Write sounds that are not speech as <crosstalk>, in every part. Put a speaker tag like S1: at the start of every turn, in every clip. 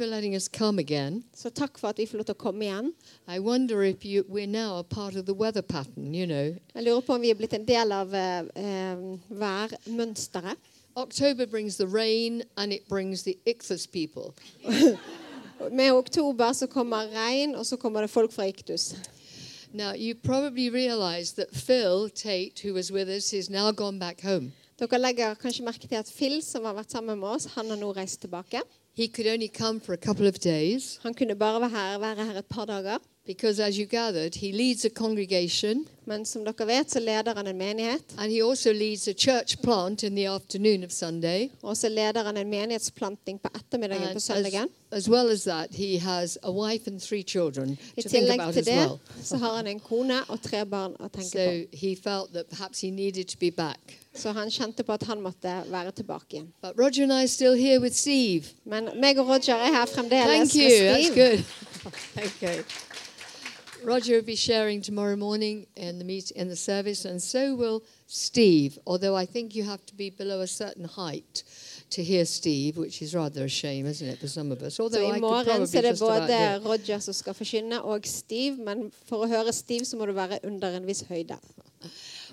S1: for letting us come again.
S2: Så takk for at vi får lov til å komme igjen.
S1: I wonder if you, we're now a part of the weather pattern, you know.
S2: Jeg lurer på om vi er blitt en del av eh, eh, værmønsteret.
S1: October brings the rain and it brings the Ichthus people.
S2: Med oktober så kommer regn, og så kommer det folk fra Iktus.
S1: Now, you probably realize that Phil Tate, who was with us, is now gone back home.
S2: Dere legger kanskje merke til at Phil, som har vært sammen med oss, han har nå reist tilbake.
S1: He could only come for a couple of days
S2: Han kunne bare være her, være her et par dager.
S1: because, as you gathered, he leads a congregation
S2: Men som dere vet, så leder han en menighet.
S1: and he also leads a church plant in the afternoon of Sunday.
S2: Og så leder han en menighetsplanting på ettermiddagen
S1: And
S2: på
S1: as,
S2: søndagen.
S1: as well as that, he has a wife and three children
S2: I
S1: to think
S2: tillegg
S1: about
S2: til
S1: as
S2: det
S1: well.
S2: så har han en kone og tre barn å
S1: <laughs>
S2: tenke på.
S1: So he felt that perhaps he needed to be back.
S2: Så han kjente på at han måtte være tilbake igjen.
S1: But Roger and I are still here with Steve.
S2: Men meg og Roger er her fremdeles
S1: Thank you.
S2: med
S1: That's
S2: Steve.
S1: good. okay. Roger will be sharing tomorrow morning in the meet in the service, and so will Steve. Although I think you have to be below a certain height to hear Steve, which is rather a shame, isn't it, for some of us?
S2: Så
S1: Although I could
S2: i morgen
S1: probably
S2: så er det
S1: just about
S2: både
S1: do it.
S2: Roger som skal forkynne, og Steve. Men for å høre Steve så må du være under en viss høyde.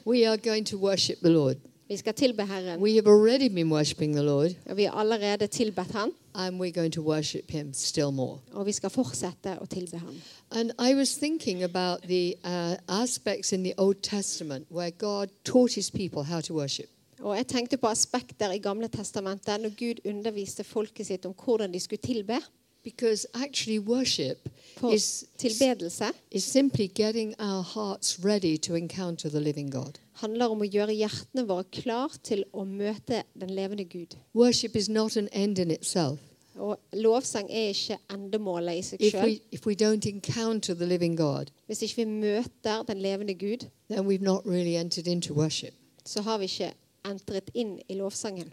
S1: We are going to worship the Lord.
S2: Vi skal tilbe Herren.
S1: We have already been worshiping the Lord,
S2: Og vi har allerede tilbedt Han,
S1: and we're going to worship Him still more.
S2: og vi skal fortsette å tilbe Han.
S1: And I was thinking about the uh, aspects in the Old Testament where God taught His people how to worship.
S2: Og jeg tenkte på aspekter i Gamle testamentet når Gud underviste folket sitt om hvordan de skulle tilbe.
S1: Because actually, worship
S2: For
S1: is,
S2: tilbedelse
S1: is simply getting our hearts ready to encounter the living God.
S2: handler om å gjøre hjertene våre klar til å møte den levende Gud.
S1: Worship is not an end in itself.
S2: Og lovsang er ikke endemålet i seg
S1: If
S2: sjøl.
S1: we, if we don't encounter the living God,
S2: Hvis ikke vi møter den levende Gud,
S1: then we've not really entered into worship.
S2: så har vi ikke entret inn i lovsangen.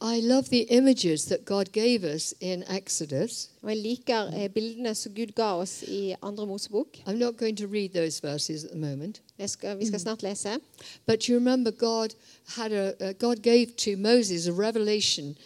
S1: I love the images that God gave us in Exodus.
S2: Og jeg liker eh, bildene som Gud ga oss i Andre Mosebok.
S1: I'm not going to read those verses at the moment.
S2: Jeg skal, vi skal snart lese.
S1: But you remember God had a, uh, God gave to Moses a revelation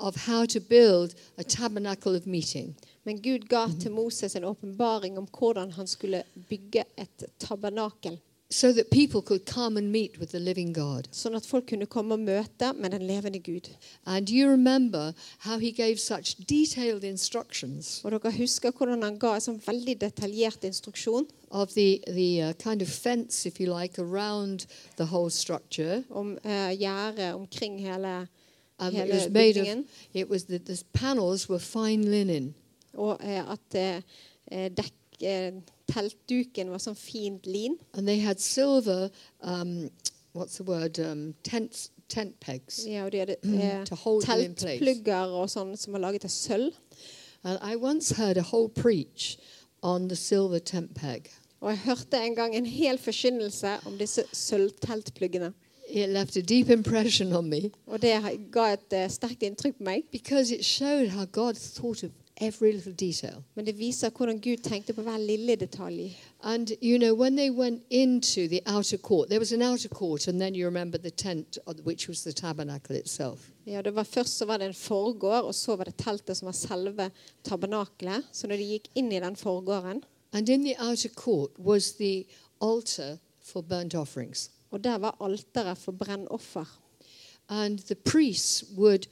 S1: of how to build a tabernacle of meeting.
S2: Men Gud ga til Moses en åpenbaring om hvordan han skulle bygge et tabernakel.
S1: so that people could come and meet with the living God.
S2: Sånn at folk kunne komme og møte med den levende Gud.
S1: And you remember how he gave such detailed instructions
S2: Og dere husker hvordan han ga en sånn veldig detaljert instruksjon
S1: of the, the uh, kind of fence, if you like, around the whole structure.
S2: om eh, gjerdet omkring hele,
S1: Um, it
S2: hele
S1: was made of,
S2: bygningen.
S1: it was that the panels were fine linen.
S2: Og eh, at eh, eh, dekk, eh, teltduken var sånn fint lin.
S1: And they had silver, um, what's the word, um, tent, tent pegs
S2: Ja, og de hadde
S1: Mm.
S2: eh,
S1: to hold them in place.
S2: teltplugger og sånn som var laget av sølv.
S1: And I once heard a whole preach on the silver tent peg.
S2: Og jeg hørte en gang en hel forkynnelse om disse sølvteltpluggene.
S1: It left a deep impression on me.
S2: Og det ha- ga et eh, sterkt inntrykk på meg.
S1: Because it showed how God thought of every little detail.
S2: Men det viser hvordan Gud tenkte på hver lille detalj.
S1: And you know, when they went into the outer court, there was an outer court, and then you remember the tent, of- which was the tabernacle itself.
S2: Ja, det var Først så var det en forgård, og så var det teltet som var selve tabernakelet. Så når de gikk inn i den forgården,
S1: And in the outer court was the altar for burnt offerings.
S2: og der var alteret for brennoffer.
S1: And the priests would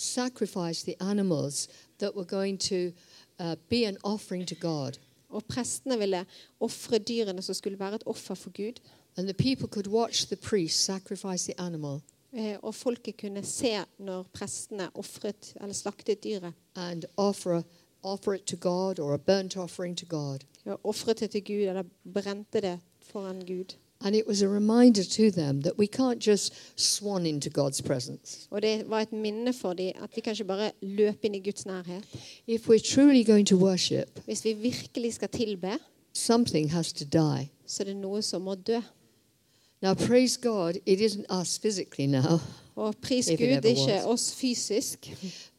S1: sacrifice the animals that were going to uh, be an offering to God.
S2: Og prestene ville ofre dyrene som skulle være et offer for Gud.
S1: And the people could watch the priests sacrifice the animal.
S2: Eh, Og folket kunne se når prestene ofret eller slaktet dyret.
S1: and offer a, offer it to God or a burnt offering to God.
S2: Ja, Ofret det til Gud, eller brente det foran Gud.
S1: And it was a reminder to them that we can't just swan into God's presence.
S2: Og det var et minne for dem at vi kan ikke bare løpe inn i Guds nærhet.
S1: If we're truly going to worship,
S2: Hvis vi virkelig skal tilbe,
S1: something has to die.
S2: så er det noe som må dø.
S1: Now, praise God, it isn't us physically now, <laughs>
S2: Og pris
S1: If it
S2: Gud,
S1: ever
S2: det er ikke
S1: was.
S2: oss fysisk,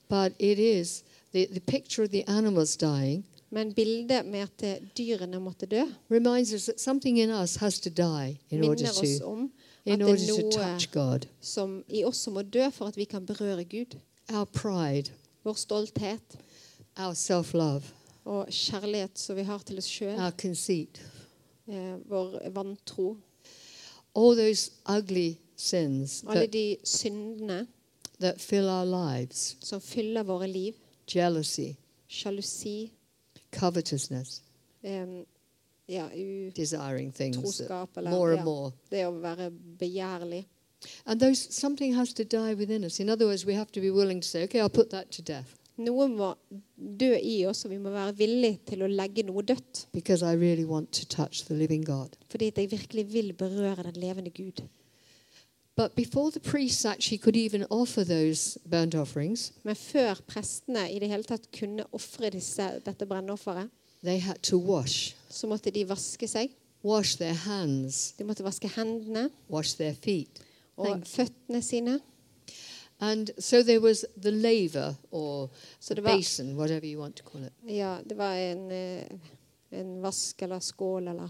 S1: but it is the, the picture of the animals dying
S2: men bildet med at eh, dyrene måtte dø,
S1: reminds us that something in us has to die in order
S2: minner oss
S1: to,
S2: om at
S1: in
S2: det
S1: order to
S2: er noe
S1: touch God.
S2: som i oss som må dø for at vi kan berøre Gud.
S1: Our pride,
S2: Vår stolthet,
S1: our self love,
S2: og kjærlighet som vi har til oss sjøl,
S1: our conceit,
S2: eh, vår vantro,
S1: all those ugly sins
S2: alle
S1: that,
S2: de syndene
S1: that fill our lives
S2: som fyller våre liv,
S1: jealousy,
S2: sjalusi,
S1: covetousness,
S2: eh, ja,
S1: desiring things that
S2: utroskap
S1: more
S2: eller
S1: and
S2: ja,
S1: more.
S2: det å være begjærlig.
S1: And those, something has to die within us. In other words, we have to be willing to say, okay, I'll put that to death
S2: Noe må dø i oss, og vi må være villige til å legge noe dødt.
S1: because I really want to touch the living God.
S2: Fordi at jeg virkelig vil berøre den levende Gud.
S1: But before the priests actually could even offer those burnt offerings,
S2: Men før prestene i det hele tatt kunne ofre disse- dette brennofferet,
S1: they had to wash.
S2: så måtte de vaske seg.
S1: Wash their hands,
S2: De måtte vaske hendene
S1: wash their feet.
S2: og
S1: Thank
S2: føttene sine.
S1: And so there was the laver or
S2: Så
S1: the
S2: det var,
S1: basin, whatever you want to call it.
S2: ja, det var en, eh, en vask eller skål eller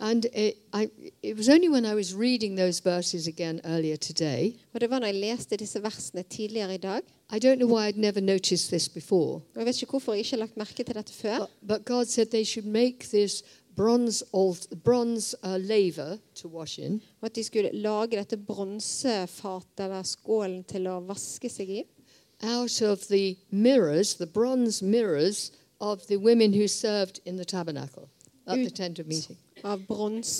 S1: And it, I, it was only when I was reading those verses again earlier today,
S2: Og det var når jeg leste disse versene tidligere i dag.
S1: I don't know why I'd never noticed this before,
S2: Og jeg vet ikke hvorfor jeg ikke har lagt merke til dette før.
S1: but, but God said they should make this bronze, alt, bronze uh, laver to wash in
S2: Og at de skulle lage dette bronsefatet eller skålen til å vaske seg i.
S1: out of the mirrors, the bronze mirrors of the women who served in the tabernacle at the
S2: Ut-
S1: tent of meeting.
S2: Av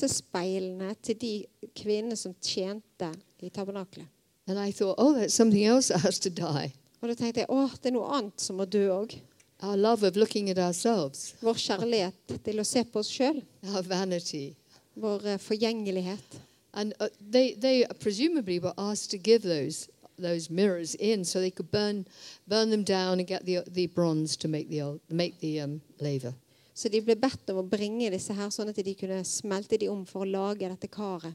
S2: bronsespeilene til de kvinnene som tjente i tabernaklet.
S1: And I thought, oh, that's something else <laughs> that has to die.
S2: Og da tenkte jeg åh, det er noe annet som må dø òg.
S1: Our love of looking at ourselves,
S2: Vår kjærlighet til å se på oss sjøl.
S1: our vanity.
S2: Vår eh, forgjengelighet.
S1: And uh, they, they presumably were asked to give those those mirrors in so they could burn burn them down and get the the bronze to make the old, make the um, laver.
S2: Så de ble bedt om å bringe disse her sånn at de kunne smelte de om for å lage dette karet.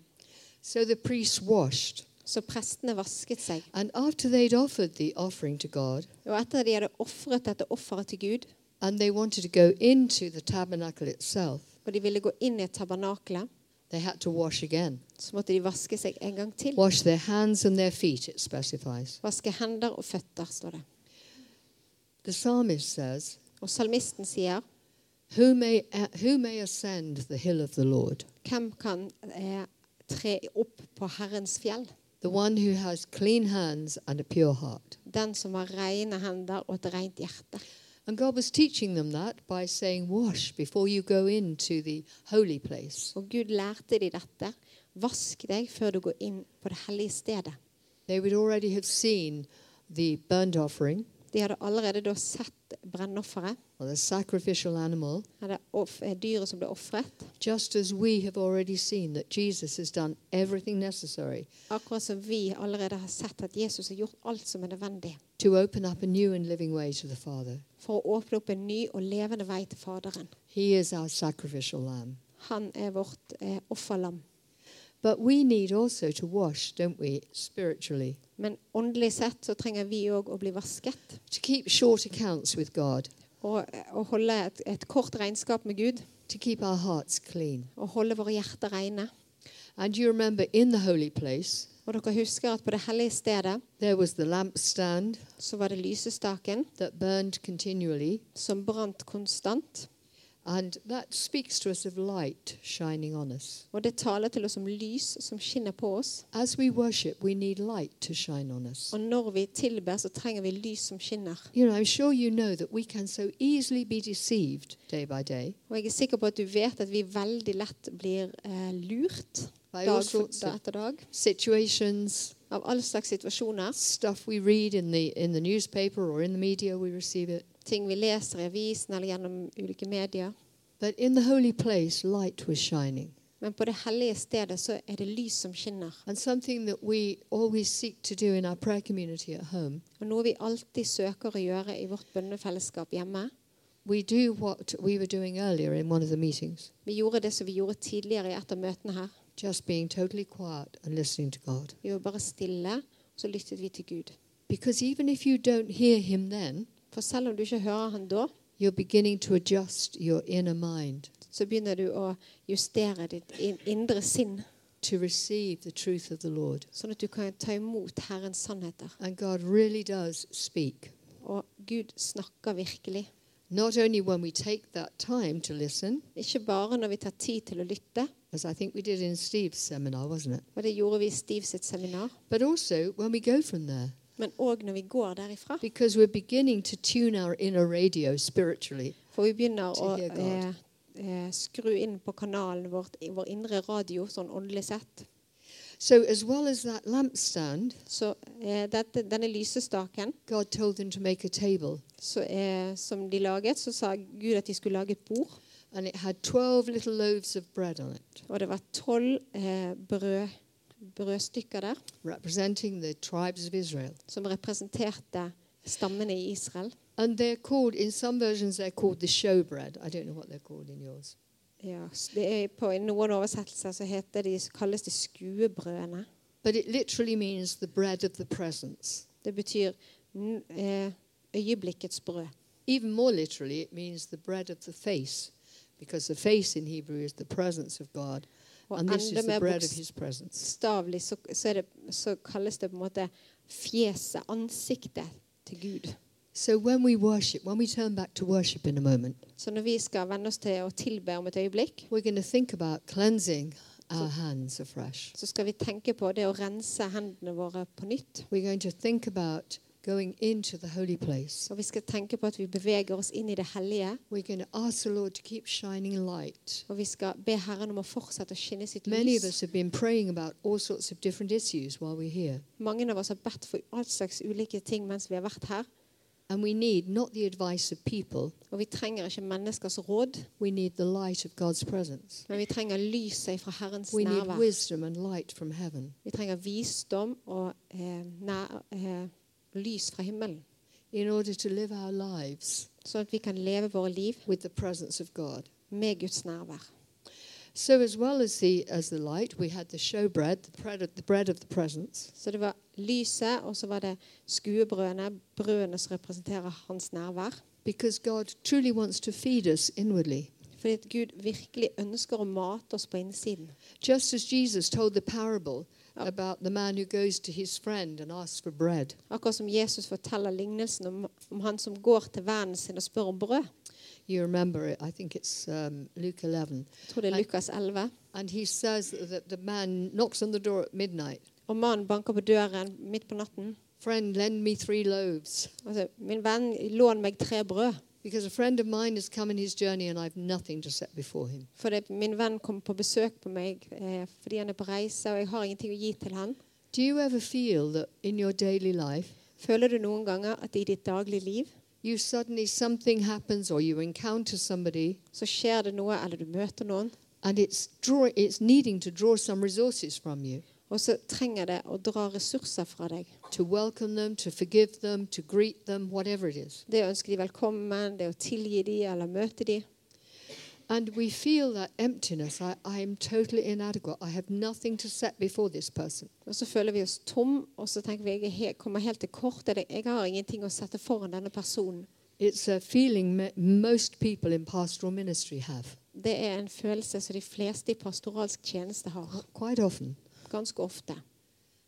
S1: So the priests washed,
S2: Så prestene vasket seg.
S1: and after they'd offered the offering to God,
S2: Og etter de hadde ofret dette offeret til Gud,
S1: and they wanted to go into the tabernacle itself,
S2: og de ville gå inn i et tabernakle,
S1: they had to wash again.
S2: så måtte de vaske seg en gang til.
S1: Wash their hands and their feet, it specifies.
S2: Vaske hender og føtter, står det.
S1: The psalmist says,
S2: Og salmisten sier,
S1: "Who may uh, who may ascend the hill of the Lord?
S2: hvem kan eh, tre opp på Herrens fjell?
S1: The one who has clean hands and a pure heart."
S2: Den som har rene hender og et rent hjerte.
S1: And God was teaching them that by saying, Wash before you go into the holy place.
S2: Og Gud lærte de dette. Vask deg før du går inn på det hellige stedet.
S1: They would already have seen the burnt offering
S2: De hadde allerede da sett brennofferet,
S1: or the sacrificial animal,
S2: eller off- eh, dyret som ble ofret.
S1: just as we have already seen that Jesus has done everything necessary
S2: Akkurat som vi allerede har sett at Jesus har gjort alt som er nødvendig
S1: to open up a new and living way to the Father.
S2: for å åpne opp en ny og levende vei til Faderen.
S1: He is our sacrificial lamb.
S2: Han er vårt eh, offerlam.
S1: But we need also to wash, don't we, spiritually,
S2: Men åndelig sett så trenger vi òg å bli vasket
S1: to keep short accounts with God,
S2: og, eh, og holde et, et kort regnskap med Gud.
S1: to keep our hearts clean.
S2: Og holde våre hjerter rene.
S1: And you remember in the holy place,
S2: Og dere husker at på det hellige stedet
S1: There was the lampstand
S2: så var det lysestaken
S1: that burned continually,
S2: som brant konstant.
S1: and that speaks to us of light shining on us.
S2: Og det taler til oss om lys som skinner på oss.
S1: As we worship, we need light to shine on us.
S2: Og når vi tilber, så trenger vi lys som skinner.
S1: You know, I'm sure you know that we can so easily be deceived day by day
S2: Og jeg er sikker på at du vet at vi veldig lett blir eh, lurt
S1: by all
S2: dag for,
S1: sorts
S2: dag
S1: of
S2: etter dag
S1: situations,
S2: av all slags situasjoner.
S1: stuff we read in the in the newspaper or in the media we receive it.
S2: Ting vi leser i avisen eller gjennom ulike medier.
S1: But in the holy place, light was shining,
S2: Men på det hellige stedet så er det lys som skinner.
S1: and something that we always seek to do in our prayer community at home.
S2: Og noe vi alltid søker å gjøre i vårt bønnefellesskap hjemme.
S1: We do what we were doing earlier in one of the meetings.
S2: Vi gjorde det som vi gjorde tidligere i et av møtene her.
S1: just being totally quiet and listening to God.
S2: Vi var bare stille, og så lyttet vi til Gud.
S1: Because even if you don't hear Him then,
S2: For selv om du ikke hører han da,
S1: you're beginning to adjust your inner mind
S2: så begynner du å justere ditt in- indre sinn,
S1: to receive the truth of the Lord.
S2: sånn at du kan ta imot Herrens sannheter.
S1: And God really does speak.
S2: Og Gud snakker virkelig.
S1: Not only when we take that time to listen,
S2: Ikke bare når vi tar tid til å lytte,
S1: as I think we did in Steve's seminar, wasn't it?
S2: og det gjorde vi i Steve sitt seminar,
S1: But also when we go from there,
S2: men òg når vi går derifra.
S1: because we're beginning to tune our inner radio spiritually.
S2: For vi begynner
S1: To
S2: å
S1: hear God.
S2: eh, eh, skru inn på kanalen vårt, i vår indre radio, sånn åndelig sett.
S1: So, as well as that lampstand,
S2: Så eh, dette, denne lysestaken
S1: God told them to make a table,
S2: så, eh, som de laget, så sa Gud at de skulle lage et bord.
S1: and it had 12 little loaves of bread on it,
S2: Og det var tolv eh, brød, brødstykker der
S1: representing the tribes of Israel.
S2: som representerte stammene i Israel.
S1: And they're called, in some versions, they're called the showbread. I don't know what they're called in yours.
S2: Ja, s- det er på, I noen oversettelser så heter de, kalles de skuebrødene.
S1: But it literally means the bread of the presence.
S2: Det betyr n- eh, øyeblikkets brød.
S1: Even more literally, it means the bread of the face, because the face in Hebrew is the presence of God,
S2: Og
S1: and this
S2: enda
S1: is the
S2: mer
S1: bread of His presence.
S2: bokstavelig så, så, er det, så kalles det på en måte fjeset, ansiktet til Gud.
S1: So when we worship, when we turn back to worship in a moment,
S2: Så når vi skal vende oss til å tilbe om et øyeblikk,
S1: we're going to think about cleansing our hands afresh.
S2: så skal vi tenke på det å rense hendene våre på nytt.
S1: We're going to think about going into the holy place.
S2: Og vi skal tenke på at vi beveger oss inn i det hellige.
S1: We're going to ask the Lord to keep shining a light.
S2: Og vi skal be Herren om å fortsette å skinne sitt
S1: Many of
S2: lys.
S1: us have been praying about all sorts of different issues while we're here,
S2: Mange av oss har bedt for all slags ulike ting mens vi har vært her.
S1: and we need not the advice of people,
S2: Og vi trenger ikke menneskers råd,
S1: we need the light of God's presence.
S2: men vi trenger lyset fra Herrens
S1: We need
S2: nærvær.
S1: wisdom and light from heaven.
S2: Vi trenger visdom og eh, nær, eh, lys fra himmelen.
S1: in order to live our lives
S2: Sånn at vi kan leve våre liv
S1: with the presence of God.
S2: med Guds nærvær.
S1: So, as well as the as the light, we had the showbread, the bread of the bread of the presence,
S2: Så det var lyset, og så var det skuebrødene, brødene som representerer hans nærvær.
S1: because God truly wants to feed us inwardly.
S2: Fordi at Gud virkelig ønsker å mate oss på innsiden.
S1: Just as Jesus told the parable
S2: Oh.
S1: about the man who goes to his friend and asks for bread,
S2: Akkurat som Jesus forteller lignelsen om, om han som går til vennen sin og spør om brød.
S1: you remember it. I think it's um, Luke 11,
S2: Jeg tror det er
S1: Nei.
S2: Lukas 11.
S1: and he says that the man knocks on the door at midnight.
S2: Og mannen banker på døren midt på natten.
S1: Friend, lend me three loaves,
S2: Altså, min venn, lån meg tre brød.
S1: because a friend of mine has come on his journey and I've nothing to set before him.
S2: For det, min venn kommer på besøk på meg eh, fordi han er på reise, og jeg har ingenting å gi til han.
S1: Do you ever feel that in your daily life
S2: Føler du noen ganger at i ditt daglige liv
S1: you suddenly something happens or you encounter somebody
S2: så skjer det noe, eller du møter noen,
S1: and it's draw, it's needing to draw some resources from you
S2: og så trenger det å dra ressurser fra deg.
S1: to welcome them, to forgive them, to greet them, whatever it is.
S2: Det å ønske de velkommen, det å tilgi de eller møte de.
S1: And we feel that emptiness. I, I am totally inadequate. I have nothing to set before this person.
S2: Og så føler vi oss tom, og så tenker vi jeg er he- kommer helt til kort. eller Jeg har ingenting å sette foran denne personen.
S1: It's a feeling me- most people in pastoral ministry have
S2: Det er en følelse som de fleste i pastoralsk tjeneste har,
S1: quite often.
S2: ganske ofte.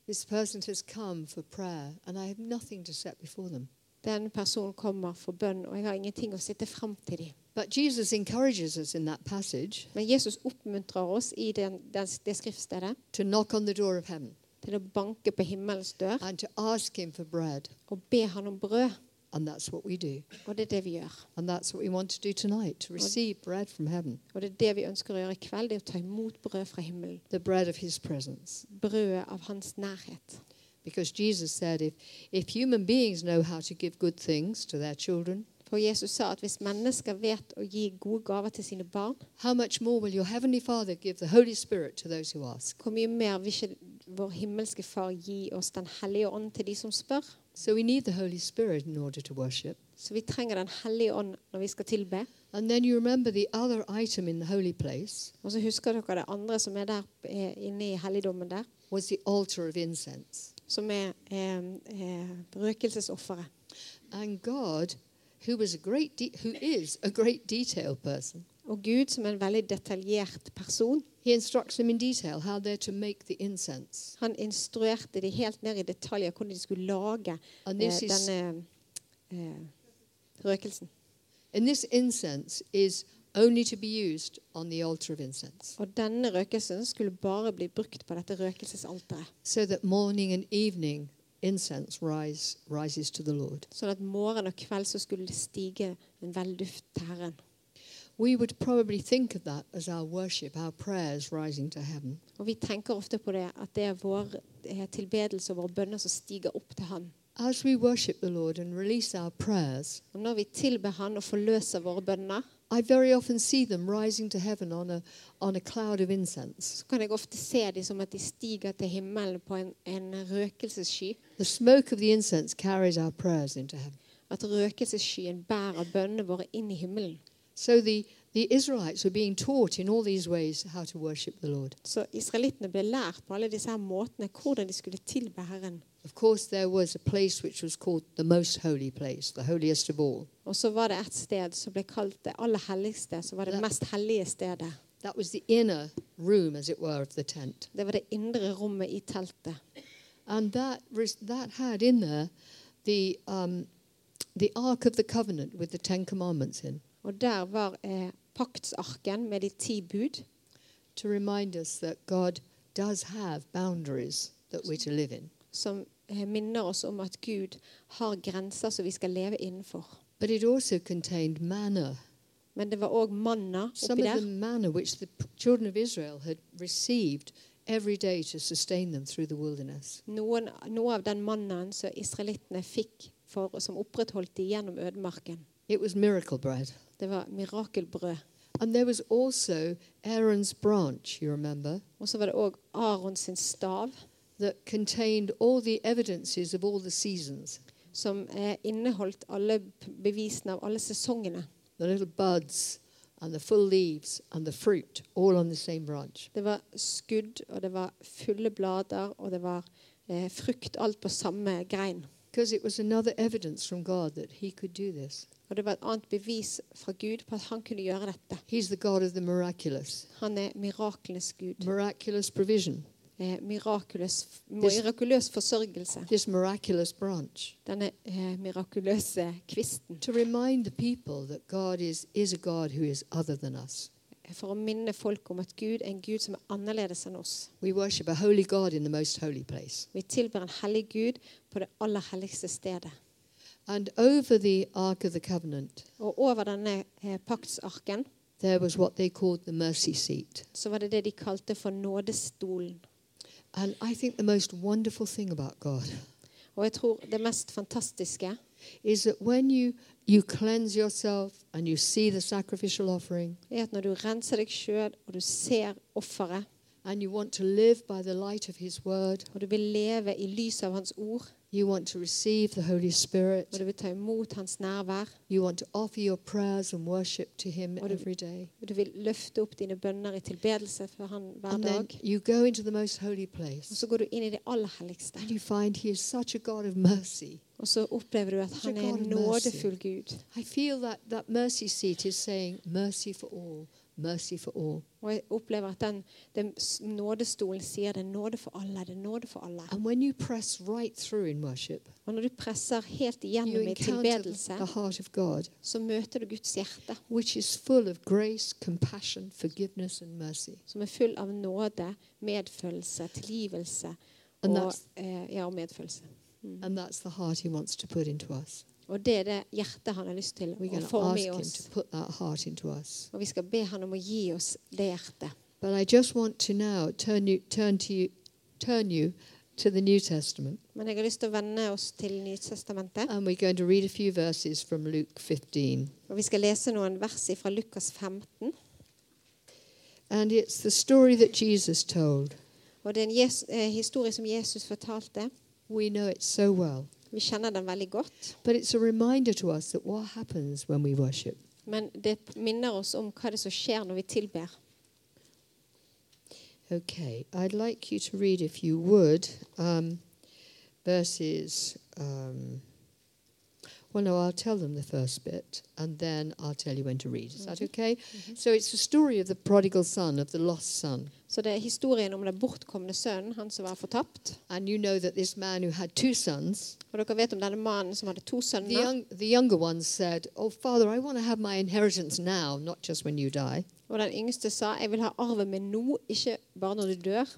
S1: This person has come for prayer and I have nothing to set before them.
S2: Den personen kommer for bønn, og jeg har ingenting å sitte frem til dem.
S1: But Jesus encourages us in that passage
S2: Men Jesus oppmuntrer oss i den, den, det skriftstedet
S1: to knock on the door of heaven
S2: til å banke på himmelens dør
S1: and to ask Him for bread.
S2: og be han om brød.
S1: And that's what we do.
S2: Og det er det vi gjør.
S1: And that's what we want to do tonight to receive bread from heaven,
S2: Og det er det vi ønsker å gjøre i kveld, det er å ta imot brød fra himmelen.
S1: the bread of His presence.
S2: Brødet av hans nærhet.
S1: Because Jesus said, if, if human beings know how to give good things to their children,
S2: For Jesus sa at hvis mennesker vet å gi gode gaver til sine barn,
S1: how much more will your Heavenly Father give the Holy Spirit to those who ask?
S2: hvor mye mer vil ikke vår himmelske Far gi oss Den hellige ånd til de som spør?
S1: So we need the Holy Spirit in order to worship.
S2: Så vi trenger Den hellige ånd når vi skal tilbe.
S1: And then you remember the other item in the holy place
S2: Og så husker dere det andre som er der eh, inne i helligdommen der,
S1: was the altar of incense.
S2: som er eh, eh, røkelsesofferet.
S1: And God, who was a great de- who is a great detail person,
S2: Og Gud som er en veldig detaljert person,
S1: he instructs them in detail how they're to make the incense.
S2: han instruerte de helt ned i detaljer hvordan de skulle lage
S1: And
S2: eh,
S1: this is
S2: denne eh, røkelsen.
S1: And this incense is only to be used on the altar of incense,
S2: Og denne røkelsen skulle bare bli brukt på dette røkelsesalteret.
S1: so that morning and evening incense rise, rises to the Lord.
S2: Sånn at morgen og kveld så skulle det stige en velduft til Herren.
S1: We would probably think of that as our worship, our prayers rising to heaven.
S2: Og vi tenker ofte på det at det er vår eh, tilbedelse og våre bønner som stiger opp til Han.
S1: As we worship the Lord and release our prayers,
S2: Og når vi tilber Han og forløser våre bønner,
S1: I very often see them rising to heaven on a, on a cloud of incense.
S2: så kan jeg ofte se dem som at de stiger til himmelen på en, en røkelsessky.
S1: The smoke of the incense carries our prayers into heaven.
S2: At røkelsesskyen bærer bønnene våre inn i himmelen.
S1: So the, the Israelites were being taught in all these ways how to worship the Lord.
S2: Så israelittene ble lært på alle disse her måtene hvordan de skulle tilbe Herren.
S1: Of course, there was a place which was called the most holy place, the holiest of all.
S2: Og så var det et sted som ble kalt det aller helligste, som var det
S1: Ja.
S2: mest hellige stedet.
S1: That was the inner room, as it were, of the tent.
S2: Det var det indre rommet i teltet.
S1: And that, res- that had in there the, um, the Ark of the Covenant with the Ten Commandments in
S2: Og der var eh, paktsarken med de ti bud,
S1: to remind us that God does have boundaries that we're to live in.
S2: som eh, minner oss om at Gud har grenser som vi skal leve innenfor.
S1: But it also contained manna,
S2: Men det var òg manna
S1: some
S2: oppi
S1: of the
S2: der.
S1: manna which the p- children of Israel had received every day to sustain them through the wilderness.
S2: Noen, noe av den mannaen som israelittene fikk for, som opprettholdt de gjennom ødemarken.
S1: It was miracle bread.
S2: Det var mirakelbrød.
S1: And there was also Aaron's branch, you remember,
S2: Og så var det òg Aron sin stav,
S1: that contained all the evidences of all the seasons
S2: som eh, inneholdt alle p- bevisene av alle sesongene.
S1: the little buds and the full leaves and the fruit, all on the same branch.
S2: Det var skudd, og det var fulle blader, og det var eh, frukt. Alt på samme grein.
S1: Because it was another evidence from God that He could do this.
S2: Og det var et annet bevis fra Gud på at han kunne gjøre dette.
S1: He's the God of the miraculous,
S2: Han er miraklenes gud.
S1: miraculous provision,
S2: Eh, mirakuløs,
S1: This-
S2: mirakuløs forsørgelse.
S1: this miraculous branch.
S2: Denne eh, mirakuløse kvisten.
S1: To remind the people that God is, is a God who is other than us.
S2: For å minne folk om at Gud er en gud som er annerledes enn oss.
S1: We worship a holy God in the most holy place.
S2: Vi tilber en hellig gud på det aller helligste stedet.
S1: And over the Ark of the Covenant,
S2: Og over denne eh, paktsarken
S1: there was what they called the mercy seat.
S2: så var det det de kalte for nådestolen.
S1: And I think the most wonderful thing about God
S2: Og jeg tror det mest fantastiske
S1: is that when you, you cleanse yourself and you see the sacrificial offering
S2: er at når du renser deg sjøl, og du ser offeret,
S1: and you want to live by the light of His Word,
S2: og du vil leve i lys av Hans ord,
S1: you want to receive the Holy
S2: og
S1: Spirit,
S2: du vil ta imot Hans nærvær,
S1: you want to offer your prayers and worship to Him
S2: What do-
S1: every day.
S2: og du vil løfte opp dine bønner i tilbedelse for Han hver
S1: And then
S2: dag,
S1: you go into the most holy
S2: og
S1: place
S2: så går du inn i det aller helligste,
S1: and you find He is such a God of mercy.
S2: og så opplever du at Han er en nådefull Gud.
S1: I feel that that mercy seat is saying, Mercy for all, mercy for all.
S2: Og jeg opplever at den, den s- nådestolen sier det er nåde for alle, det er nåde for alle.
S1: And when you press right through in worship,
S2: Og når du presser helt
S1: you
S2: igjennom i
S1: encounter
S2: tilbedelse,
S1: the heart of God,
S2: så møter du Guds hjerte,
S1: which is full of grace, compassion, forgiveness, and mercy.
S2: som er full av nåde, medfølelse, tilgivelse
S1: And
S2: og,
S1: that's-
S2: eh, ja, og medfølelse. Mm.
S1: And that's the heart He wants to put into us.
S2: Og det er det hjertet han har lyst til
S1: We're
S2: å
S1: going to
S2: forme
S1: ask
S2: i
S1: Him
S2: oss.
S1: to put that heart into us.
S2: Og vi skal be han om å gi oss det hjertet.
S1: But I just want to now turn you, turn to you, turn you to the New Testament,
S2: Men jeg har lyst til å vende oss til Nytestamentet,
S1: and we're going to read a few verses from Luke 15.
S2: og vi skal lese noen vers fra Lukas 15.
S1: And it's the story that Jesus told.
S2: Og det er en Jes- eh, historie som Jesus fortalte.
S1: We know it so well.
S2: Vi kjenner den veldig godt,
S1: But it's a reminder to us that what happens when we worship.
S2: men det minner oss om hva det er som skjer når vi tilber.
S1: Okay, I'd like you to read, if you would, um, verses um, Well, no, I'll tell them the first bit and then I'll tell you when to read. Is that okay? So it's the story of the prodigal son, of the lost son.
S2: Så det er historien om den bortkomne sønnen, han som var fortapt.
S1: And you know that this man who had two sons,
S2: Og dere vet om denne mannen som hadde to
S1: the,
S2: sønner.
S1: young, the younger one said, Oh, father, I want to have my inheritance now, not just when you die.
S2: Og den yngste sa, 'Jeg vil ha arven min nå, ikke bare når du dør'.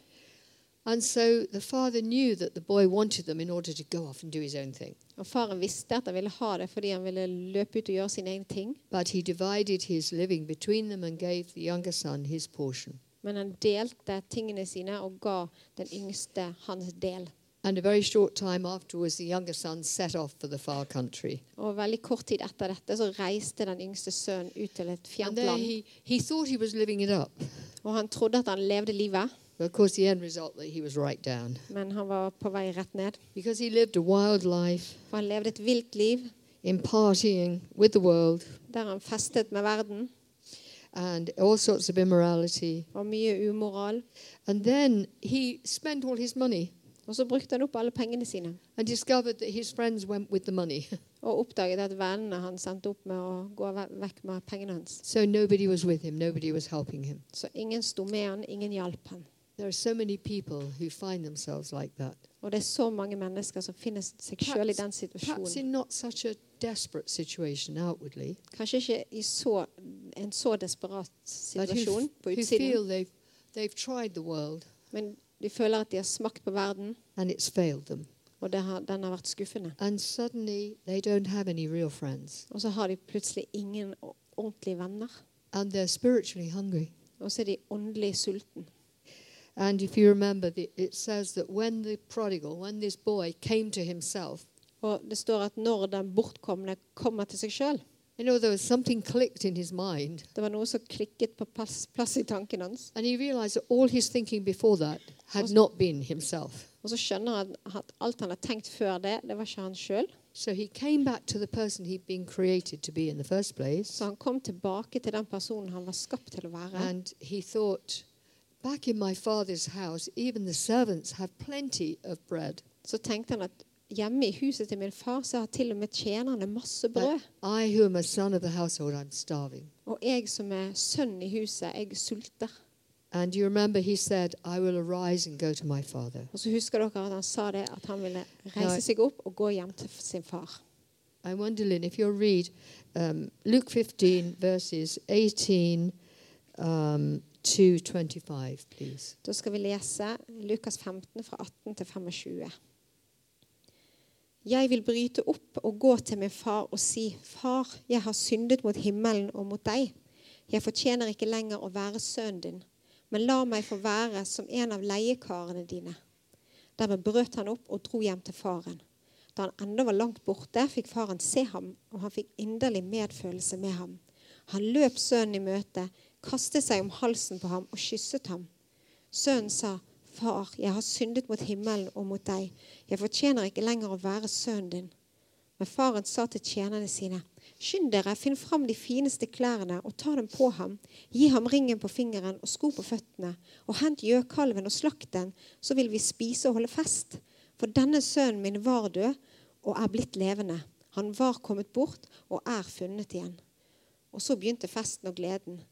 S1: And so the father knew that the boy wanted them in order to go off and do his own thing.
S2: Og faren visste at han ville ha det fordi han ville løpe ut og gjøre sine egne ting.
S1: But he divided his living between them and gave the younger son his portion.
S2: Men han delte tingene sine og ga den yngste hans del.
S1: And a very short time afterwards, the younger son set off for the far country.
S2: Og veldig kort tid etter dette så reiste den yngste sønnen ut til et
S1: And
S2: fjernt
S1: there
S2: land.
S1: he, he thought he was living it up.
S2: Og han trodde at han levde livet,
S1: But of course, the end result that he was right down.
S2: men han var på vei rett ned.
S1: Because he lived a wild life
S2: For han levde et vilt liv
S1: in partying with the world
S2: der han festet med verden.
S1: and all sorts of immorality.
S2: Var mye umoral.
S1: And then he spent all his money
S2: Og så brukte han opp alle pengene sine.
S1: and discovered that his friends went with the money. <laughs>
S2: Og oppdaget at vennene han sendte opp med å gå ve- vekk med pengene hans.
S1: So nobody was with him, nobody was helping him.
S2: Så ingen sto med han, ingen hjalp han.
S1: There are so many people who find themselves like that.
S2: Og det er så mange mennesker som finner seg sjøl i den
S1: Perhaps
S2: situasjonen.
S1: in not such a desperate situation outwardly,
S2: Kanskje ikke i så, en så desperat
S1: but who,
S2: situasjon på
S1: who
S2: utsiden,
S1: feel they've, they've tried the world
S2: men de føler at de har smakt på verden,
S1: and it's failed them.
S2: og det har, den har vært skuffende.
S1: And suddenly they don't have any real friends
S2: Og så har de plutselig ingen o- ordentlige venner.
S1: and they're spiritually hungry.
S2: Og så er de åndelig sulten.
S1: And if you remember, the, it says that when the prodigal, when this boy came to himself,
S2: Og det står at når den bortkomne kommer til seg sjøl
S1: you know, there was something clicked in his mind.
S2: Det var noe som klikket på plass, plass i tanken hans.
S1: And he realized that all his thinking before that had not been himself.
S2: Og så skjønner han at alt han har tenkt før det, det var ikke han sjøl.
S1: So he came back to the person he'd been created to be in the first place.
S2: Så han kom tilbake til den personen han var skapt til å være.
S1: And he thought, back in my father's house, even the servants have plenty of bread.
S2: Så tenkte han at hjemme i huset til min far så har til og med tjenerne masse brød.
S1: I, who am a son of the household, I'm starving.
S2: Og jeg som er sønn i huset, jeg sulter.
S1: And you remember he said, I will arise and go to my father.
S2: Og så husker dere at han sa det, at han ville reise
S1: Nei.
S2: seg opp og gå hjem til sin far.
S1: I wonder, Lynn, if you'll read um, Luke 15, verses 18 um, to 25, please.
S2: Da skal vi lese Lukas 15 fra 18 til 25. Jeg vil bryte opp og gå til min far og si, Far, jeg har syndet mot himmelen og mot deg. Jeg fortjener ikke lenger å være sønnen din, men la meg få være som en av leiekarene dine. Dermed brøt han opp og dro hjem til faren. Da han ennå var langt borte, fikk faren se ham, og han fikk inderlig medfølelse med ham. Han løp sønnen i møte, kastet seg om halsen på ham og kysset ham. Sønnen sa, 'Far, jeg har syndet mot himmelen og mot deg. Jeg fortjener ikke lenger å være sønnen din.' Men faren sa til tjenerne sine, 'Skynd dere, finn fram de fineste klærne og ta dem på ham.' 'Gi ham ringen på fingeren og sko på føttene.' 'Og hent gjøkalven og slakt den, så vil vi spise og holde fest.' 'For denne sønnen min var død og er blitt levende.' 'Han var kommet bort og er funnet igjen.' Og så begynte festen og gleden.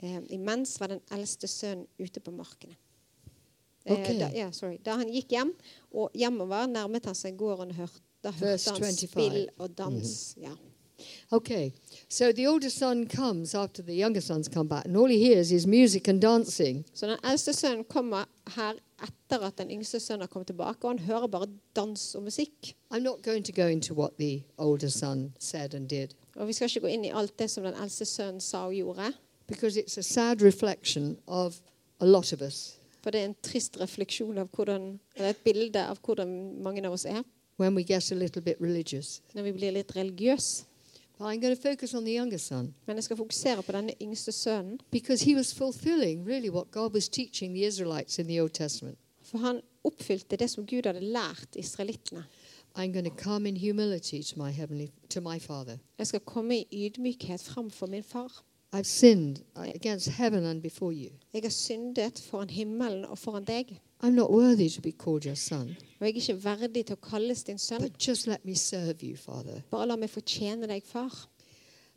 S2: Eh, imens var den eldste sønnen ute på markene. Eh,
S1: Ok.
S2: da, ja, sorry. da han gikk hjem og hjemover, nærmet han seg gården og hørte, da
S1: Verse Mhm.
S2: hørte han
S1: 25.
S2: spill og dans. Ja.
S1: Okay, so the older son comes after the younger son's come back, and all he hears is music and dancing.
S2: Så den eldste sønnen kommer her etter at den yngste sønnen har kommet tilbake, og han hører bare dans og musikk.
S1: I'm not going to go into what the older son said and did
S2: Og vi skal ikke gå inn i alt det som den eldste sønnen sa og gjorde,
S1: because it's a sad reflection of a lot of us
S2: for det er en trist refleksjon av hvordan, eller et bilde av hvordan mange av oss er
S1: when we get a little bit religious.
S2: når vi blir litt religiøse.
S1: But I'm going to focus on the younger son
S2: Men jeg skal fokusere på denne yngste sønnen.
S1: because he was fulfilling really what God was teaching the Israelites in the Old Testament.
S2: For han oppfylte det som Gud hadde lært israelittene.
S1: I'm going to come in humility to my heavenly to my father.
S2: Jeg skal komme i ydmykhet framfor min far.
S1: I've sinned uh, against heaven and before you.
S2: Jeg har syndet foran himmelen og foran deg.
S1: I'm not worthy to be called your son,
S2: Og jeg er ikke verdig til å kalles din sønn.
S1: but just let me serve you, Father.
S2: Bare la meg få tjene deg, far.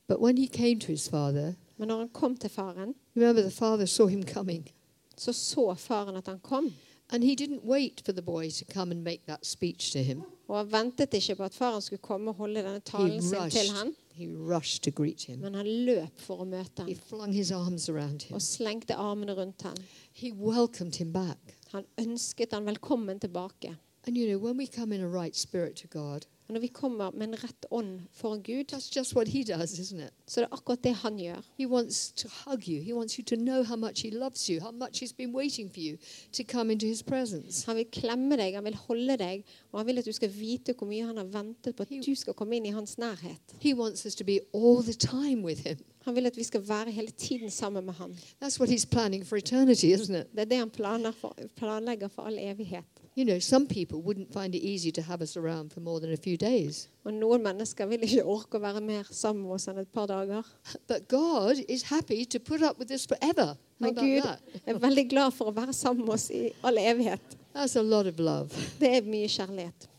S1: But when he came to his father,
S2: Men når han kom til faren,
S1: remember the father saw him coming,
S2: så så faren at han kom.
S1: and he didn't wait for the boy to come and make that speech to him.
S2: Og han ventet ikke på at faren skulle komme og holde denne
S1: He
S2: talen sin til
S1: rushed,
S2: han,
S1: he rushed to greet him.
S2: men han løp for å møte
S1: He
S2: ham
S1: flung his arms around him.
S2: og slengte armene rundt ham.
S1: He welcomed him back.
S2: Han ønsket han velkommen tilbake.
S1: And you know, when we come in a right spirit to God,
S2: Og når vi kommer med en rett ånd foran Gud,
S1: that's just what he does, isn't it?
S2: så er det akkurat det han gjør.
S1: He wants to hug you. He wants you to know how much he loves you, how much he's been waiting for you to come into his presence.
S2: Han vil klemme deg, han vil holde deg, og han vil at du skal vite hvor mye han har ventet på at du skal komme inn i hans nærhet.
S1: He wants us to be all the time with him.
S2: Han vil at vi skal være hele tiden sammen med ham.
S1: That's what he's planning for eternity, isn't it?
S2: Det er det han planer for, planlegger for all evighet.
S1: You know, some people wouldn't find it easy to have us around for more than a few days.
S2: Og noen mennesker vil ikke orke å være mer sammen med oss enn et par dager.
S1: But God is happy to put up with this forever. How
S2: Men
S1: about
S2: Gud
S1: that?
S2: er veldig glad for å være sammen med oss i all evighet.
S1: That's a lot of love.
S2: Det er mye kjærlighet.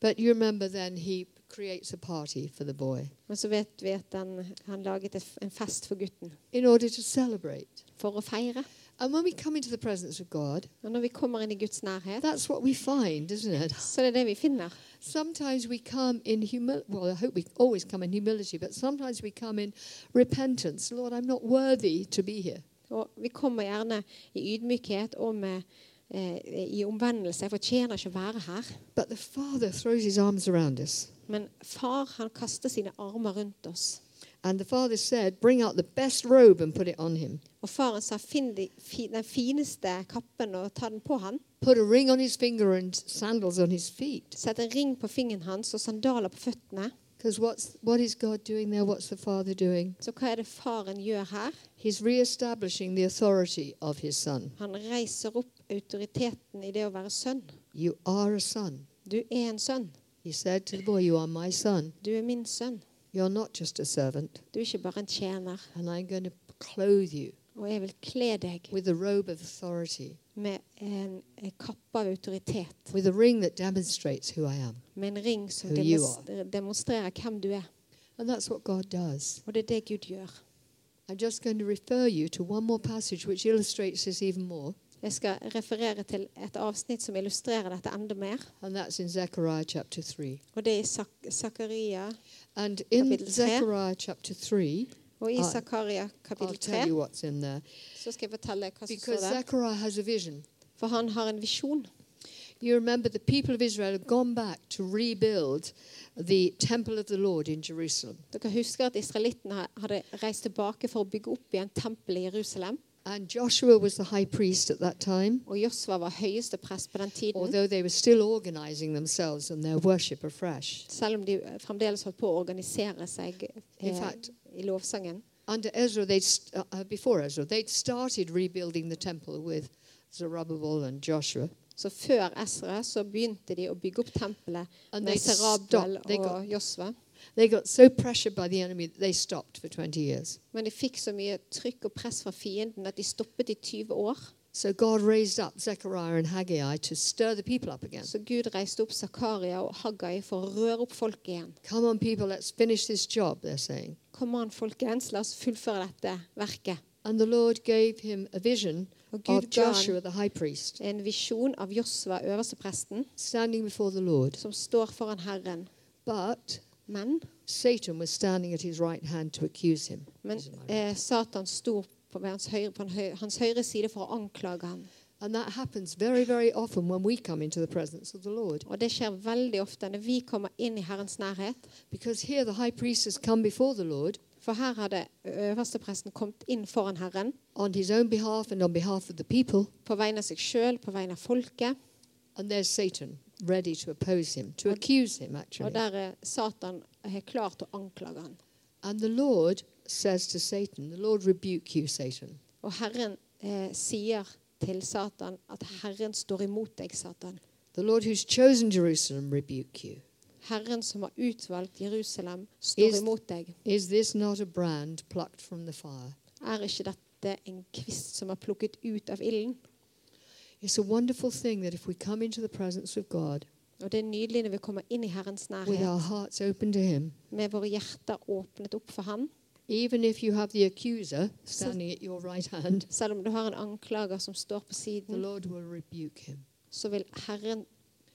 S1: But you remember then he creates a party for the boy
S2: Men så vet vi at han, han laget et- en fest for gutten
S1: in order to celebrate.
S2: for å feire.
S1: And when we come into the presence of God,
S2: Og når vi kommer inn i Guds nærhet,
S1: that's what we find, isn't it?
S2: så er det det vi finner.
S1: Sometimes we come in humility. Well, I hope we always come in humility, but sometimes we come in repentance. Lord, I'm not worthy to be here.
S2: Og vi kommer gjerne i ydmykhet og med, eh, i omvendelse. Jeg fortjener ikke å være her.
S1: But the Father throws his arms around us.
S2: Men far han kaster sine armer rundt oss.
S1: And the Father said, Bring out the best robe and put it on him.
S2: Og faren sa finn de, fi, den fineste kappen og ta den på han.
S1: Put a ring on his finger and sandals on his feet.
S2: Sett en ring på fingeren hans og sandaler på føttene.
S1: Because what's what is God doing there? What's the Father doing?
S2: Så hva er det faren gjør her?
S1: He's reestablishing the authority of his son.
S2: Han reiser opp autoriteten i det å være sønn.
S1: You are a son.
S2: Du er en sønn.
S1: He said to the boy, You are my son.
S2: Du er min sønn.
S1: You're not just a servant.
S2: Du er ikke bare en tjener.
S1: And I'm going to clothe you
S2: Og jeg vil kle deg
S1: with a robe of authority,
S2: med en en kappe av autoritet.
S1: with a ring that demonstrates who I am.
S2: Med en ring som
S1: Who you are.
S2: demos- demonstrerer hvem du er.
S1: And that's what God does.
S2: Og det er det Gud gjør.
S1: I'm just going to refer you to one more passage which illustrates this even more,
S2: Jeg skal referere til et avsnitt som illustrerer dette enda mer.
S1: and that's in Zechariah chapter 3.
S2: Og det er i Sak- Zakaria.
S1: And in
S2: Kapittel 3.
S1: Zechariah chapter 3,
S2: Og i
S1: Ah,
S2: Zakaria
S1: I'll
S2: kapittel
S1: tell
S2: 3
S1: you what's in there.
S2: så skal jeg fortelle hva som
S1: Because
S2: står der.
S1: Zechariah has a vision.
S2: For han har en visjon.
S1: You remember the people of Israel have gone back to rebuild the temple of the Lord in Jerusalem.
S2: Dere husker at israelittene ha- hadde reist tilbake for å bygge opp igjen tempelet i Jerusalem.
S1: And Joshua was the high priest at that time.
S2: Og Josva var høyeste prest på den tiden.
S1: although they were still organizing themselves and their worship afresh.
S2: Selv om de eh, fremdeles holdt på å organisere seg
S1: In
S2: eh,
S1: fact-
S2: i lovsangen.
S1: Under Ezra, they st- uh, uh, before Ezra, they'd started rebuilding the temple with Zerubbabel and Joshua,
S2: Så før Esra så begynte de å bygge opp tempelet
S1: and they
S2: med Serabdal
S1: stopped. They got,
S2: og Josva.
S1: they got so pressured by the enemy that they stopped for 20 years.
S2: Men de fikk så mye trykk og press fra fienden at de stoppet i 20 år.
S1: So God raised up Zechariah and Haggai to stir the people up again.
S2: Så Gud reiste opp Zakaria og Haggai for å røre opp folket igjen.
S1: Come on, people, let's finish this job. They're saying,
S2: Kom an, folkens, la oss fullføre dette verket.
S1: and the Lord gave him a vision
S2: Og Gud
S1: of
S2: ga han
S1: Joshua the high priest
S2: en visjon av Josva, øverstepresten,
S1: standing before the Lord,
S2: som står foran Herren.
S1: but
S2: Men,
S1: Satan was standing at his right hand to accuse him.
S2: men
S1: This is my-
S2: eh, Satan sto på hans høyre, på hans høyre, hans høyre side for å anklage ham.
S1: And that happens very, very often when we come into the presence of the Lord.
S2: Og det skjer veldig ofte når vi kommer inn i Herrens nærhet.
S1: Because here the high priest has come before the Lord
S2: For her hadde øverstepresten kommet inn foran Herren
S1: on his own behalf and on behalf of the people.
S2: på vegne av seg sjøl, på vegne av folket.
S1: And there's Satan ready to oppose him, to accuse him,
S2: Og
S1: actually.
S2: der er Satan helt klart å anklage ham.
S1: And the Lord says to Satan, The Lord rebuke you, Satan.
S2: Og Herren eh, sier til Satan at Herren står imot deg, Satan.
S1: The Lord who's chosen Jerusalem rebuke you.
S2: Herren som har utvalgt Jerusalem,
S1: Is-
S2: står imot deg.
S1: Is this not a brand plucked from the fire?
S2: Er ikke dette en kvist som er plukket ut av ilden?
S1: It's a wonderful thing that if we come into the presence of God
S2: Og det er nydelig når vi kommer inn i Herrens
S1: with
S2: nærhet
S1: our hearts open to Him,
S2: med våre hjerter åpnet opp for Han.
S1: even if you have the accuser standing at your right hand,
S2: Selv om du har en anklager som står på
S1: the
S2: siden,
S1: Lord will rebuke him
S2: så vil Herren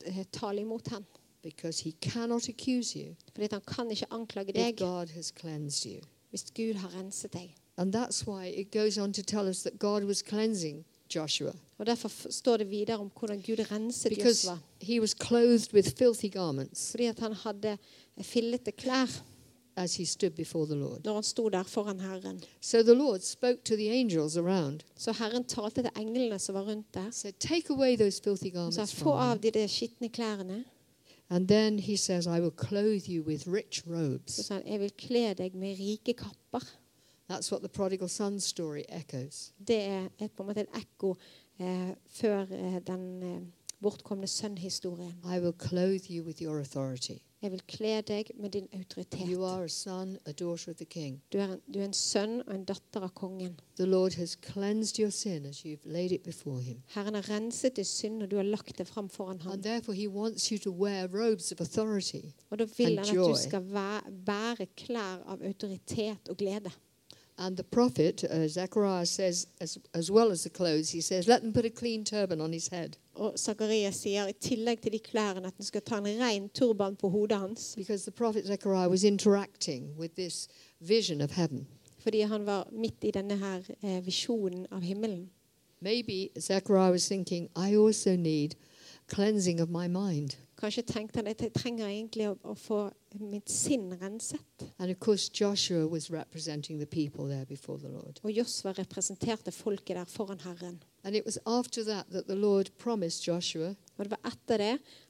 S2: eh, tale imot ham.
S1: because He cannot accuse you
S2: Fordi at han kan ikke anklage
S1: if
S2: deg
S1: God has cleansed you.
S2: hvis Gud har renset deg.
S1: And that's why it goes on to tell us that God was cleansing Joshua
S2: Og Derfor f- står det videre om hvordan Gud renset
S1: because
S2: Josva.
S1: he was clothed with filthy garments
S2: Fordi at han hadde fillete klær
S1: as he stood before the Lord.
S2: når han sto der foran Herren.
S1: So the Lord spoke to the angels around
S2: Så Herren talte til englene som var rundt der.
S1: and said, Take away those filthy
S2: Han sa,
S1: garments
S2: få
S1: from
S2: av
S1: him.
S2: de der skitne klærne.
S1: And then he says, I will clothe you with rich
S2: Så
S1: robes.
S2: sa han, jeg vil kle deg med rike kapper.
S1: That's what the prodigal son story echoes.
S2: Det er et, på en måte et ekko eh, før eh, den eh, bortkomne sønn-historien.
S1: I will clothe you with your authority.
S2: Jeg vil kle deg med din autoritet.
S1: You are a son, a daughter of the king.
S2: Du er, en, du er en sønn og en datter av kongen.
S1: The Lord has cleansed your sin as you've laid it before him.
S2: Herren har renset din synd, og du har lagt det fram foran ham.
S1: And therefore, he wants you to wear robes of authority.
S2: Og da vil
S1: and
S2: han at du
S1: joy.
S2: skal væ- bære klær av autoritet og glede.
S1: And the prophet, uh, Zechariah, says, as, as well as the clothes, he says, Let them put a clean turban on his head.
S2: Og Sakarias sier i tillegg til de klærne at han skal ta en ren turban på hodet hans.
S1: Because the prophet Zechariah was interacting with this vision of heaven.
S2: Fordi han var midt i denne her eh, visjonen av himmelen.
S1: Maybe Zechariah was thinking, I also need cleansing of my mind.
S2: Kanskje tenkte han at jeg trenger egentlig å, å få mitt sinn renset.
S1: And of course, Joshua was representing the people there before the Lord.
S2: Og Josva representerte folket der foran Herren.
S1: And it was after that that the Lord promised Joshua
S2: Og det var etter det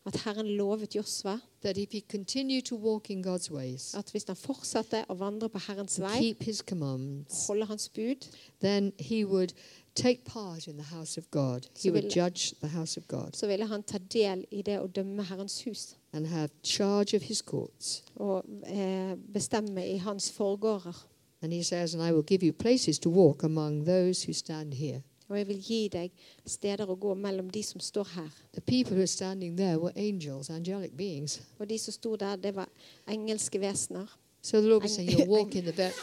S2: at Herren lovet Josva
S1: that if he continued to walk in God's ways,
S2: at hvis han fortsatte å vandre på Herrens
S1: to
S2: vei,
S1: keep his commands,
S2: holde hans bud,
S1: then he would take part in the house of God. He
S2: So
S1: would
S2: we'll-
S1: judge the house of God
S2: så ville han ta del i det å dømme Herrens hus
S1: and have charge of his courts.
S2: og eh, bestemme i hans forgårder.
S1: And he says, And I will give you places to walk among those who stand here.
S2: Og jeg vil gi deg steder å gå mellom de som står her.
S1: The people who were standing there were angels, angelic beings.
S2: Og de som sto der, det var engelske vesener.
S1: So the Lord was saying,
S2: Ang-
S1: You'll walk in the ver-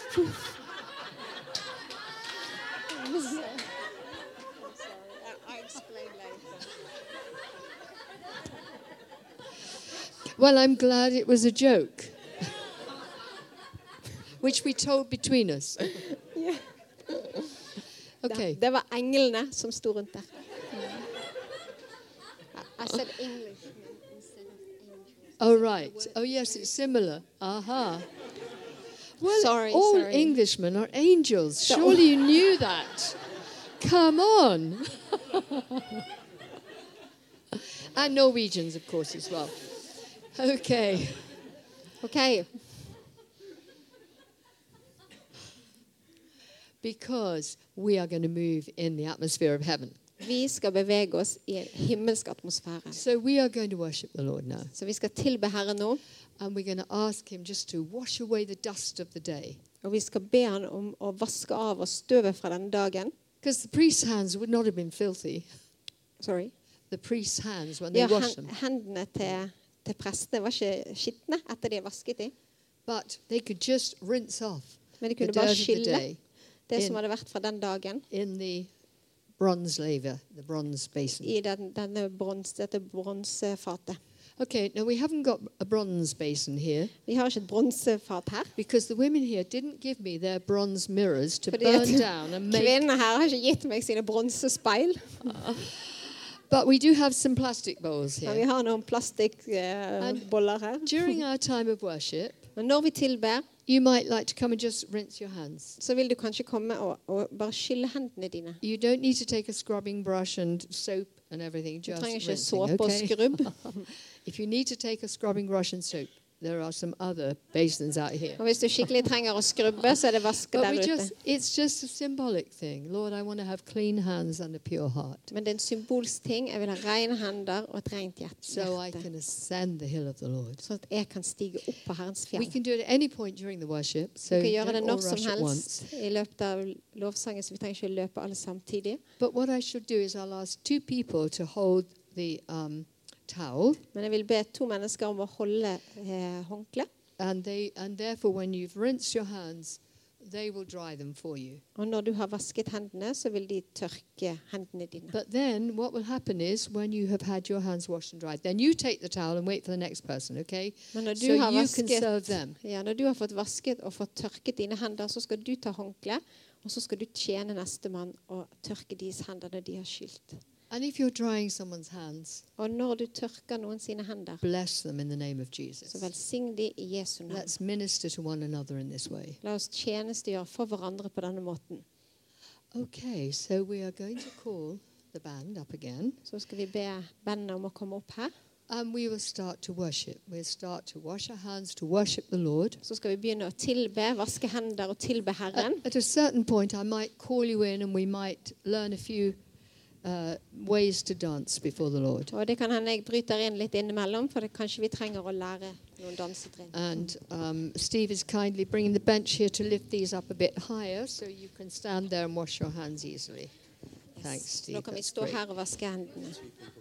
S1: Well, I'm glad it was a joke, <laughs> which we told between us. Okay.
S2: Det, det var englene som sto rundt der. I- I said English instead of angels.
S1: Oh, right. Oh, yes, it's similar. Aha. Well,
S2: Sorry,
S1: all
S2: sorry.
S1: Englishmen are angels.
S2: So-
S1: Surely you knew that. Come
S2: <laughs>
S1: on. and Norwegians, of course, as well. Okay.
S2: Ok,
S1: Because we are going to move in the atmosphere of heaven.
S2: Vi skal bevege oss i en himmelsk atmosfære.
S1: So we are going to worship the Lord now.
S2: Så vi skal tilbe Herren nå,
S1: And we're going to ask Him just to wash away the dust of the day.
S2: og vi skal be Han om å vaske av oss støvet fra denne dagen.
S1: Because the priest's hands would not have been filthy.
S2: Sorry.
S1: The priest's hands, when they
S2: Ja,
S1: washed
S2: hen,
S1: them,
S2: hendene til, til prestene var ikke skitne etter de vasket dem.
S1: but they could just rinse off
S2: Men de
S1: the
S2: kunne
S1: dirt
S2: bare
S1: of the
S2: skille
S1: day
S2: det
S1: in-
S2: som hadde vært fra den dagen,
S1: in the bronze laver, the bronze basin.
S2: i den, denne brons, dette bronsefatet.
S1: Okay, now we haven't got a bronze basin here
S2: Vi har ikke et bronsefat her.
S1: because the women here didn't give me their bronze mirrors to
S2: Fordi
S1: burn
S2: at
S1: down and make.
S2: Kvinnene her har ikke gitt meg sine bronsespeil.
S1: But we do have some plastic bowls
S2: Men vi
S1: here.
S2: har noen plastikkboller her.
S1: During our time of worship,
S2: Men når vi tilber,
S1: you might like to come and just rinse your hands.
S2: så vil du kanskje komme og, og bare skylle hendene dine.
S1: You don't need to take a scrubbing brush and soap and everything.
S2: Du
S1: Just
S2: trenger ikke
S1: rinsing,
S2: såpe og
S1: okay?
S2: skrubb.
S1: If you need to take a scrubbing brush and soap, there are some other basins out here.
S2: Og hvis du skikkelig trenger å skrubbe, så er det vask
S1: But
S2: der
S1: we
S2: ute.
S1: just, it's just a symbolic thing. Lord, I want to have clean hands and a pure heart
S2: Men det er en symbolsk ting. Jeg vil ha rene hender og et rent hjert-
S1: so I
S2: hjerte.
S1: can ascend the hill of the Lord.
S2: Sånn at jeg kan stige opp på Herrens
S1: We
S2: fjell.
S1: can do it at any point during the worship,
S2: Vi
S1: so
S2: kan gjøre det
S1: don't all
S2: når som
S1: rush at once.
S2: helst i løpet av lovsangen, så vi trenger ikke å løpe alle samtidig.
S1: But what I should do is I'll ask two people to hold the um, towel,
S2: Men jeg vil be to mennesker om å holde eh, håndkle.
S1: and they and therefore when you've rinsed your hands, they will dry them for you.
S2: Og når du har vasket hendene, så vil de tørke hendene dine.
S1: But then what will happen is when you have had your hands washed and dried, then you take the towel and wait for the next person, okay?
S2: Men når du,
S1: So
S2: har
S1: you can
S2: vasket,
S1: serve them.
S2: ja, når du har fått vasket og fått tørket dine hender, så skal du ta håndkle, og så skal du tjene nestemann og tørke deres hender når de har skylt.
S1: And if you're drying someone's hands,
S2: Og når du tørker noen sine hender,
S1: bless them in the name of
S2: så
S1: Jesus.
S2: velsign de i Jesu navn.
S1: Let's minister to one another in this way.
S2: La oss tjenestegjøre for hverandre på denne måten.
S1: Okay, so we are going to call the band up again.
S2: Så skal vi be bandet om å komme opp her.
S1: And we will start to worship. We'll start to wash our hands to worship the Lord.
S2: Så skal vi begynne å tilbe, vaske hender og tilbe
S1: At,
S2: Herren.
S1: at a certain point, I might call you in and we might learn a few uh, ways to dance before the Lord.
S2: Og det kan hende jeg bryter inn litt innimellom, for det kanskje vi trenger å lære noen dansetrinn.
S1: And um, Steve is kindly bringing the bench here to lift these up a bit higher so you can stand there and wash your hands easily. Thanks, Steve.
S2: Nå kan vi
S1: That's
S2: stå
S1: great.
S2: her og vaske hendene.